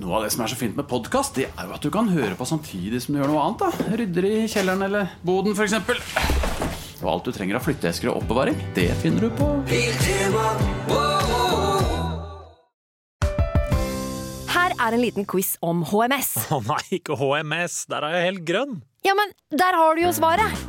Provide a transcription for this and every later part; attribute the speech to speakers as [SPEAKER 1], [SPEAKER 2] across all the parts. [SPEAKER 1] Noe av det som er så fint med podkast, det er jo at du kan høre på samtidig som du gjør noe annet. da Rydder i kjelleren eller boden, f.eks. Og alt du trenger av flytteesker og oppbevaring, det finner du på
[SPEAKER 2] Her er en liten quiz om HMS.
[SPEAKER 3] Å nei, ikke HMS. Der er jeg helt grønn.
[SPEAKER 2] Ja, men der har du jo svaret!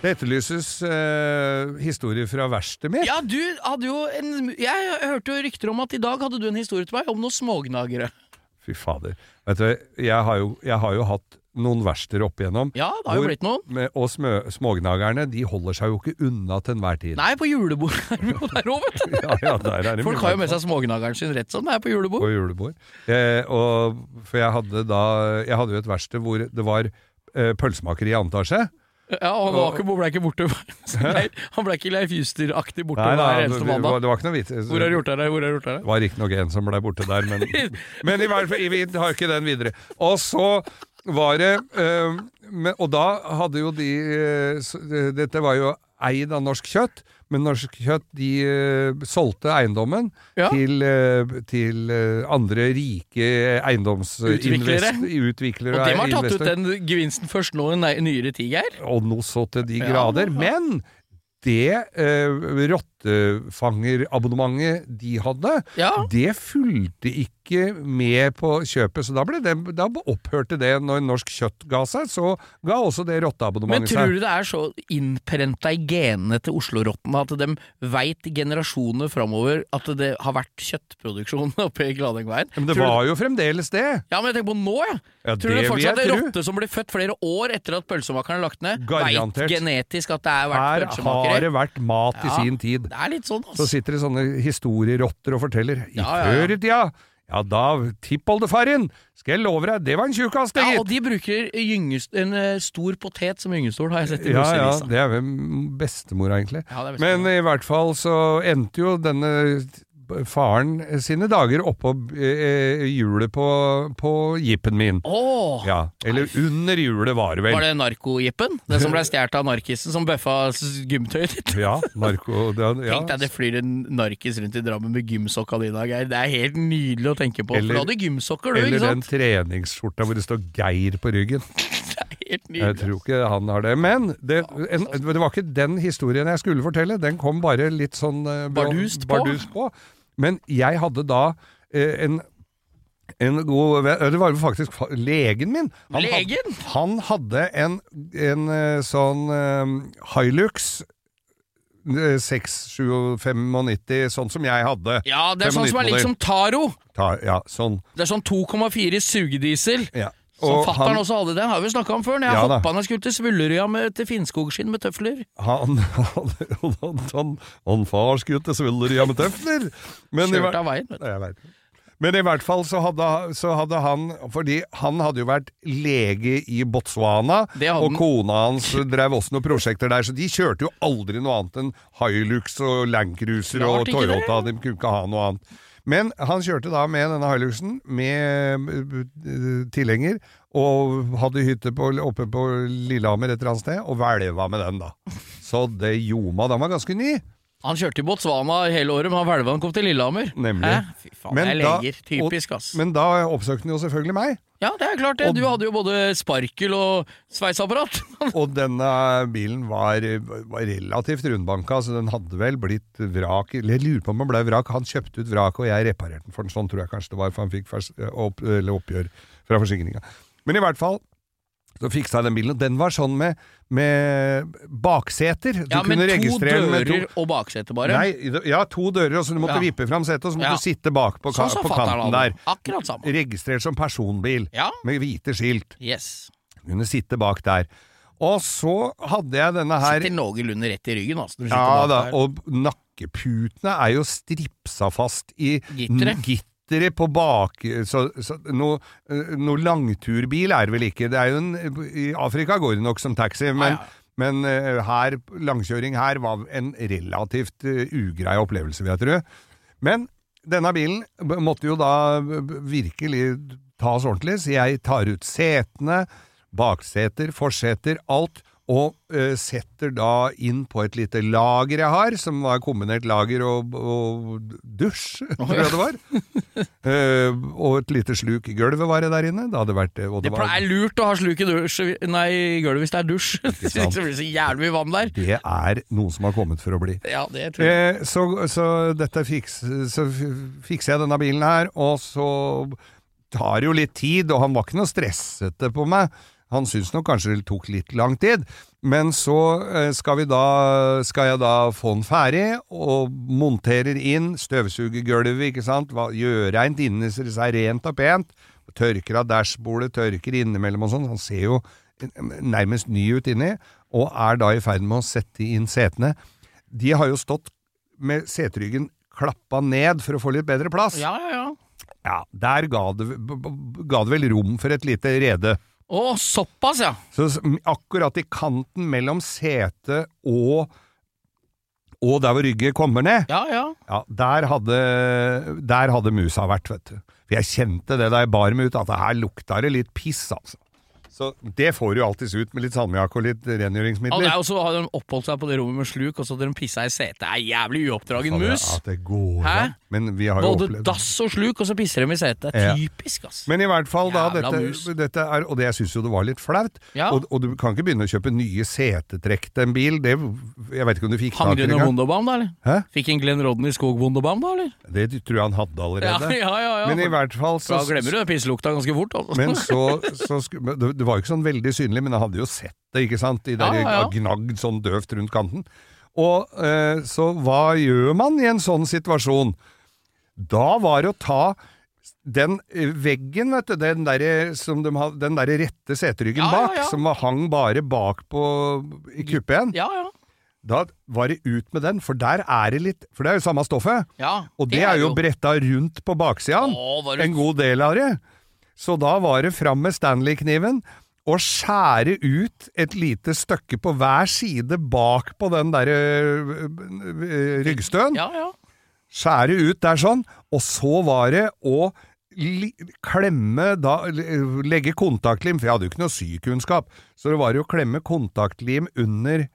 [SPEAKER 4] Det etterlyses eh, historier fra verkstedet mitt.
[SPEAKER 5] Ja, du hadde jo en Jeg hørte jo rykter om at i dag hadde du en historie til meg om noen smågnagere.
[SPEAKER 4] Fy fader. Vet du, jeg har jo, jeg har jo hatt noen verksteder opp igjennom.
[SPEAKER 5] Ja, det har jo
[SPEAKER 4] hvor-
[SPEAKER 5] blitt noen.
[SPEAKER 4] Med, og smø, smågnagerne de holder seg jo ikke unna til enhver tid.
[SPEAKER 5] Nei, på julebord er det jo der òg, vet du.
[SPEAKER 4] Ja, ja, der er det
[SPEAKER 5] Folk
[SPEAKER 4] mye
[SPEAKER 5] har jo med seg smågnageren sin rett som det er på julebord.
[SPEAKER 4] på julebord. Eh, og, for jeg hadde da Jeg hadde jo et verksted hvor det var eh, pølsemakeri i andre etasje.
[SPEAKER 5] Ja, og han var ikke, ble ikke borte Nei, Han ble ikke Leif Juster-aktig borte
[SPEAKER 4] Nei, nei,
[SPEAKER 5] hver
[SPEAKER 4] det,
[SPEAKER 5] eneste
[SPEAKER 4] det var
[SPEAKER 5] mandag.
[SPEAKER 4] det var ikke noe vits.
[SPEAKER 5] Hvor har du gjort av deg? Hvor har du gjort av
[SPEAKER 4] Det
[SPEAKER 5] deg?
[SPEAKER 4] var riktignok en som ble borte der, men, men i hvert fall, vi har ikke den videre. Og så var det eh, men, Og da hadde jo de eh, s- Dette var jo eid av Norsk Kjøtt, men Norsk Kjøtt de eh, solgte eiendommen
[SPEAKER 5] Ja.
[SPEAKER 4] til, eh, til eh, andre rike
[SPEAKER 5] Utviklere.
[SPEAKER 4] eiendomsutviklere. Utviklere
[SPEAKER 5] Og de har tatt ut
[SPEAKER 4] investorer.
[SPEAKER 5] den gevinsten først nå i nei- nyere tid, Geir.
[SPEAKER 4] Og nå så til de
[SPEAKER 5] Ja.
[SPEAKER 4] grader. Men det eh, rottefangerabonnementet de hadde,
[SPEAKER 5] Ja.
[SPEAKER 4] det fulgte ikke med på kjøpet. Så da, ble det, da opphørte det når norsk kjøtt ga seg. Så ga også det
[SPEAKER 5] Men
[SPEAKER 4] rotteabonnementet
[SPEAKER 5] tror
[SPEAKER 4] seg.
[SPEAKER 5] du det er så innprenta i genene til Oslo-rottene at de veit i generasjoner framover at det har vært kjøttproduksjon oppe i Gladengveien?
[SPEAKER 4] Men det
[SPEAKER 5] Tror du-
[SPEAKER 4] var jo fremdeles det.
[SPEAKER 5] Ja, men jeg tenker på nå, ja.
[SPEAKER 4] Ja,
[SPEAKER 5] Tror du det
[SPEAKER 4] det vil jeg
[SPEAKER 5] fortsatt er
[SPEAKER 4] tro.
[SPEAKER 5] rotte som blir født flere år etter at pølsemakeren er lagt ned, veit
[SPEAKER 4] Garantert.
[SPEAKER 5] genetisk at det er vært
[SPEAKER 4] Her har
[SPEAKER 5] pølsemakere?
[SPEAKER 4] det vært mat i
[SPEAKER 5] Ja.
[SPEAKER 4] sin tid.
[SPEAKER 5] Det er litt sånn,
[SPEAKER 4] Så
[SPEAKER 5] altså.
[SPEAKER 4] sitter det sånne historierotter og forteller. I
[SPEAKER 5] Ja, ja, ja.
[SPEAKER 4] før i tida, ja da, tippoldefaren, skal jeg love deg, det var en tjukkas, det,
[SPEAKER 5] Ja,
[SPEAKER 4] gitt.
[SPEAKER 5] og de bruker gyngest, en eh, stor potet som gyngestol, har jeg sett i
[SPEAKER 4] Ja, ja,
[SPEAKER 5] Mosevisa.
[SPEAKER 4] det er vel bestemora, egentlig.
[SPEAKER 5] Ja, det er bestemora.
[SPEAKER 4] Men i hvert fall så endte jo denne faren sine dager oppå eh, hjulet på, på jeepen min.
[SPEAKER 5] Åh,
[SPEAKER 4] Ja, eller under hjulet var det vel.
[SPEAKER 5] Var det narkojippen? Den som ble stjålet av narkisen som bøffa s- gymtøyet ditt?
[SPEAKER 4] Ja, narko... Det, ja.
[SPEAKER 5] Tenk deg det flyr en narkis rundt i Drammen med gymsokka di i dag, Geir. Det er helt nydelig å tenke på.
[SPEAKER 4] Eller-
[SPEAKER 5] for du hadde gymsokker, du,
[SPEAKER 4] Eller
[SPEAKER 5] ikke
[SPEAKER 4] den
[SPEAKER 5] sant?
[SPEAKER 4] treningsskjorta hvor det står Geir på ryggen.
[SPEAKER 5] Det er helt
[SPEAKER 4] Jeg
[SPEAKER 5] nydelig.
[SPEAKER 4] tror ikke han har det. Men det, en, det var ikke den historien jeg skulle fortelle. Den kom bare litt sånn eh, bra-
[SPEAKER 5] Bardust på.
[SPEAKER 4] bardust på. Men jeg hadde da eh, en en god venn, det var jo faktisk fa- legen min.
[SPEAKER 5] Legen?
[SPEAKER 4] Hadde, han hadde en, en eh, sånn eh, Hilux eh, 695, sånn som jeg hadde.
[SPEAKER 5] Ja, det er sånn som er
[SPEAKER 4] 95
[SPEAKER 5] litt som Taro.
[SPEAKER 4] Ta, ja, sånn.
[SPEAKER 5] Det er sånn 2,4 sugediesel.
[SPEAKER 4] Ja.
[SPEAKER 5] Som
[SPEAKER 4] Og
[SPEAKER 5] fatter'n også hadde den, har vi snakka om før. Når jeg
[SPEAKER 4] Ja, da.
[SPEAKER 5] hoppa ned og skulle til Svullerøya med- til Finnskogskinn med tøfler.
[SPEAKER 4] han, han, han, han, han farskutte svuller i ammetøfler. Men i
[SPEAKER 5] Kjørt
[SPEAKER 4] hver-
[SPEAKER 5] av veien. vet du.
[SPEAKER 4] Nei, jeg vet. Men i hvert fall så hadde, så hadde han Fordi han hadde jo vært lege i Botswana,
[SPEAKER 5] Det hadde
[SPEAKER 4] og
[SPEAKER 5] han.
[SPEAKER 4] kona hans drev også noen prosjekter der, så de kjørte jo aldri noe annet enn Hilux og Land Cruiser
[SPEAKER 5] Klart
[SPEAKER 4] og
[SPEAKER 5] ikke det.
[SPEAKER 4] Toyota. De kunne ikke ha noe annet. Men han kjørte da med denne Hiluxen, med eh, tilhenger, og hadde hytte på, oppe på Lillehammer et eller annet sted, og hvelva med den, da. Så det ljoma. Den var ganske ny.
[SPEAKER 5] Han kjørte i Botswana hele året, men han hvelva han kom til Lillehammer.
[SPEAKER 4] Nemlig.
[SPEAKER 5] Hæ? Fy faen,
[SPEAKER 4] Men
[SPEAKER 5] det er
[SPEAKER 4] da-
[SPEAKER 5] leger. Typisk, ass.
[SPEAKER 4] Men da oppsøkte han jo selvfølgelig meg.
[SPEAKER 5] ja, det er klart det.
[SPEAKER 4] Og-
[SPEAKER 5] Du hadde jo både sparkel og sveiseapparat.
[SPEAKER 4] Og denne bilen var, var relativt rundbanka, så den hadde vel blitt vrak. Eller jeg lurer på om den ble vrak. Han kjøpte ut vraket, og jeg reparerte den for den. Sånn tror jeg kanskje det var, for han fikk fers, opp, eller oppgjør fra forsikringa. Men i hvert fall så fiksa jeg den bilen, og den var sånn med, med bakseter. Du
[SPEAKER 5] Ja, men
[SPEAKER 4] kunne
[SPEAKER 5] to
[SPEAKER 4] registrere den med
[SPEAKER 5] dører og baksete, bare.
[SPEAKER 4] Nei, ja, to dører, og så du måtte
[SPEAKER 5] Ja.
[SPEAKER 4] vippe fram setet, og så måtte
[SPEAKER 5] Ja.
[SPEAKER 4] du sitte bak på, ka
[SPEAKER 5] Sånn som
[SPEAKER 4] på
[SPEAKER 5] fatter'n
[SPEAKER 4] kanten der.
[SPEAKER 5] hadde. Akkurat samme.
[SPEAKER 4] Registrert som personbil,
[SPEAKER 5] Ja.
[SPEAKER 4] med hvite skilt
[SPEAKER 5] Yes.
[SPEAKER 4] kunne sitte bak der. Og så hadde jeg denne her
[SPEAKER 5] Sitter noenlunde rett i ryggen, altså. når du
[SPEAKER 4] Ja
[SPEAKER 5] sitter bak
[SPEAKER 4] da,
[SPEAKER 5] der.
[SPEAKER 4] og nakkeputene er jo stripsa fast i
[SPEAKER 5] Gitteret.
[SPEAKER 4] n- gitteret på bak... Så, så noe, eh, noe langturbil er det vel ikke. Det er jo en, I Afrika går det nok som taxi, men, men eh, her, langkjøring her var en relativt eh, ugrei opplevelse, vil jeg tro. Men denne bilen b- måtte jo da b- b- virkelig tas ordentlig, så jeg tar ut setene, bakseter, forseter, alt, og eh, setter da inn på et lite lager jeg har, som var kombinert lager og, og dusj, tror jeg det var. Eh, og et lite sluk i gulvet var det der inne. Det hadde vært eh, og
[SPEAKER 5] Det
[SPEAKER 4] det, var,
[SPEAKER 5] er lurt å ha sluk i dusj, nei, i gulvet hvis det er dusj. Så
[SPEAKER 4] sant.
[SPEAKER 5] blir det så jævlig mye vann der.
[SPEAKER 4] det er noe som har kommet for å bli.
[SPEAKER 5] Ja, det tror jeg.
[SPEAKER 4] Eh, så, så dette fiks, så f- fikser jeg denne bilen her, og så tar det jo litt tid, og han var ikke noe stressete på meg. Han syntes nok kanskje det tok litt lang tid, men så eh, skal, vi da, skal jeg da få den ferdig, og monterer inn, støvsuger gulvet, ikke sant, Hva- gjør reint inni seg rent og pent, tørker av dashbordet, tørker innimellom og sånn, han ser jo eh, nærmest ny ut inni, og er da i ferd med å sette inn setene. De har jo stått med seteryggen klappa ned for å få litt bedre plass.
[SPEAKER 5] Ja, ja, ja.
[SPEAKER 4] Ja, der ga det, b- b- ga det vel rom for et lite rede.
[SPEAKER 5] Å, såpass, ja.
[SPEAKER 4] Så s- m- akkurat i kanten mellom setet og, og der hvor ryggen kommer ned,
[SPEAKER 5] Ja, ja.
[SPEAKER 4] ja, der, hadde, der hadde musa vært, vet du. For jeg kjente det da jeg bar meg ut, at her lukta det litt piss, altså. Så det får du jo alltids ut med litt salmiakk og litt
[SPEAKER 5] Ja, det
[SPEAKER 4] rengjøringsmidler.
[SPEAKER 5] er jo så har de oppholdt seg på det rommet med sluk, og så hadde de pissa i setet. Det er jævlig uoppdragen
[SPEAKER 4] Fader,
[SPEAKER 5] mus.
[SPEAKER 4] At det går
[SPEAKER 5] Hæ?
[SPEAKER 4] an. Men vi har jo
[SPEAKER 5] Både
[SPEAKER 4] opplevd
[SPEAKER 5] dass og sluk, og så pisser de i setet.
[SPEAKER 4] Ja.
[SPEAKER 5] Typisk, ass.
[SPEAKER 4] Men i hvert fall da,
[SPEAKER 5] Jævla mus.
[SPEAKER 4] dette, dette er, og det jeg synes jo det var litt flaut,
[SPEAKER 5] Ja.
[SPEAKER 4] og, og du kan ikke begynne å kjøpe nye setetrekk til en bil, det, jeg vet ikke om du fikk
[SPEAKER 5] Hang
[SPEAKER 4] tak
[SPEAKER 5] du
[SPEAKER 4] i det
[SPEAKER 5] under
[SPEAKER 4] engang.
[SPEAKER 5] Wunderbaum, da, eller?
[SPEAKER 4] Hæ?
[SPEAKER 5] Fikk en Glenn Rodden i skog Wunderbaum, da, eller?
[SPEAKER 4] Det tror jeg han hadde allerede.
[SPEAKER 5] Ja, ja, ja, ja.
[SPEAKER 4] Men i hvert fall
[SPEAKER 5] Da
[SPEAKER 4] så...
[SPEAKER 5] glemmer du den pisselukta ganske fort. Altså.
[SPEAKER 4] Men så, så sku- men det, det var jo ikke sånn veldig synlig, men jeg hadde jo sett det, ikke sant? De der
[SPEAKER 5] Ja, ja, ja.
[SPEAKER 4] gnagd sånn døvt rundt kanten. Og eh, så hva gjør man i en sånn situasjon? Da var det å ta den eh, veggen, vet du, den derre som de har- den derre rette seteryggen
[SPEAKER 5] Ja, ja,
[SPEAKER 4] bak,
[SPEAKER 5] ja.
[SPEAKER 4] som var- hang bare bak på i kuppeen,
[SPEAKER 5] Ja, ja.
[SPEAKER 4] da var det ut med den, for der er det litt For det er jo samme stoffet.
[SPEAKER 5] ja.
[SPEAKER 4] Og det, er jo
[SPEAKER 5] det
[SPEAKER 4] bretta rundt på baksida.
[SPEAKER 5] Å, var det-
[SPEAKER 4] En god del av det. Så da var det fram med Stanley-kniven og skjære ut et lite stykke på hver side bak på den derre øh, øh, ryggstøen.
[SPEAKER 5] Ja, ja.
[SPEAKER 4] Skjære ut der sånn, og så var det å li klemme da l- Legge kontaktlim, for jeg hadde jo ikke noe sykunnskap, så det var jo å klemme kontaktlim under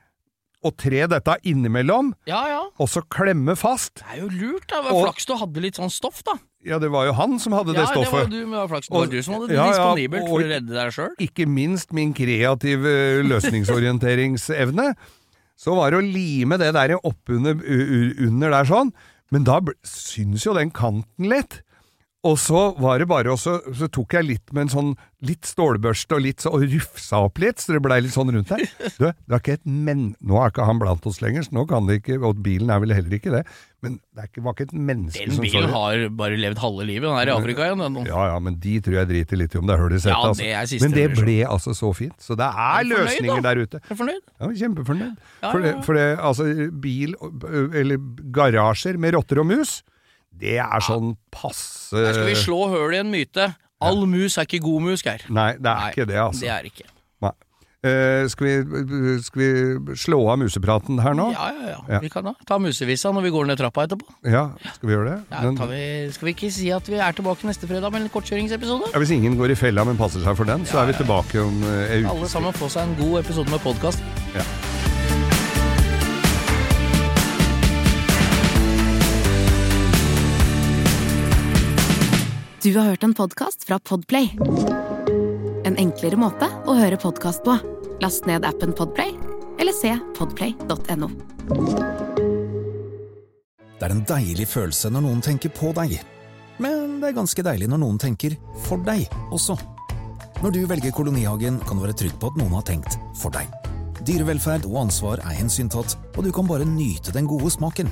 [SPEAKER 4] og tre dette innimellom,
[SPEAKER 5] ja, ja.
[SPEAKER 4] og så klemme fast.
[SPEAKER 5] Det er jo lurt, da. Det var
[SPEAKER 4] Og-
[SPEAKER 5] Flaks du hadde litt sånn stoff, da.
[SPEAKER 4] Ja, det var jo han som hadde
[SPEAKER 5] Ja,
[SPEAKER 4] det
[SPEAKER 5] det var
[SPEAKER 4] stoffet.
[SPEAKER 5] jo du, men det var flaks. Det
[SPEAKER 4] Og-
[SPEAKER 5] var du som hadde det
[SPEAKER 4] ja, ja,
[SPEAKER 5] disponibelt for
[SPEAKER 4] og-
[SPEAKER 5] å redde deg sjøl.
[SPEAKER 4] Ikke minst min kreative løsningsorienteringsevne. Så var det å lime det der oppunder under der sånn, men da bl- syns jo den kanten litt. Og så var det bare, og så, så tok jeg litt med en sånn litt stålbørste og litt så, og rufsa opp litt, så det blei litt sånn rundt der. Du, det var ikke et men... Nå er ikke han blant oss lenger, så nå kan det ikke, og bilen er vel heller ikke det, men det er ikke, var ikke et menneske
[SPEAKER 5] Den
[SPEAKER 4] som så
[SPEAKER 5] bilen
[SPEAKER 4] det.
[SPEAKER 5] har bare levd halve livet. Den er i Afrika igjen, den. nå.
[SPEAKER 4] Ja, ja, men de tror jeg driter litt i om det er hull i setet.
[SPEAKER 5] Mm. Ja, det
[SPEAKER 4] altså.
[SPEAKER 5] er siste
[SPEAKER 4] men det
[SPEAKER 5] revisjon.
[SPEAKER 4] ble altså så fint. Så det er,
[SPEAKER 5] Er du fornøyd,
[SPEAKER 4] løsninger
[SPEAKER 5] da?
[SPEAKER 4] der ute.
[SPEAKER 5] Er du fornøyd?
[SPEAKER 4] Ja, Kjempefornøyd.
[SPEAKER 5] Ja,
[SPEAKER 4] For,
[SPEAKER 5] ja,
[SPEAKER 4] det,
[SPEAKER 5] ja.
[SPEAKER 4] for det, altså, bil Eller garasjer med rotter og mus, det er sånn passe
[SPEAKER 5] Her skal vi slå høl i en myte. All mus er ikke god mus, Geir.
[SPEAKER 4] Nei, det er ikke det, altså.
[SPEAKER 5] Det er ikke.
[SPEAKER 4] Nei. Eh, skal, vi, skal vi slå av musepraten her nå?
[SPEAKER 5] Ja, ja, ja. Vi kan da ta musevisa når vi går ned trappa etterpå.
[SPEAKER 4] Ja, skal vi gjøre det?
[SPEAKER 5] Ja,
[SPEAKER 4] Den-
[SPEAKER 5] tar vi, skal vi ikke si at vi er tilbake neste fredag med en kortkjøringsepisode?
[SPEAKER 4] ja, hvis ingen går i fella, men passer seg for den, så er vi tilbake om eh, ei uke.
[SPEAKER 5] Alle sammen få seg en god episode med podkast.
[SPEAKER 6] Du har hørt en podkast fra Podplay. En enklere måte å høre podkast på. Last ned appen Podplay, eller se podplay.no.
[SPEAKER 7] Det er en deilig følelse når noen tenker på deg. Men det er ganske deilig når noen tenker for deg også. Når du velger kolonihagen, kan du være trygg på at noen har tenkt for deg. Dyrevelferd og ansvar er hensyntatt, og du kan bare nyte den gode smaken.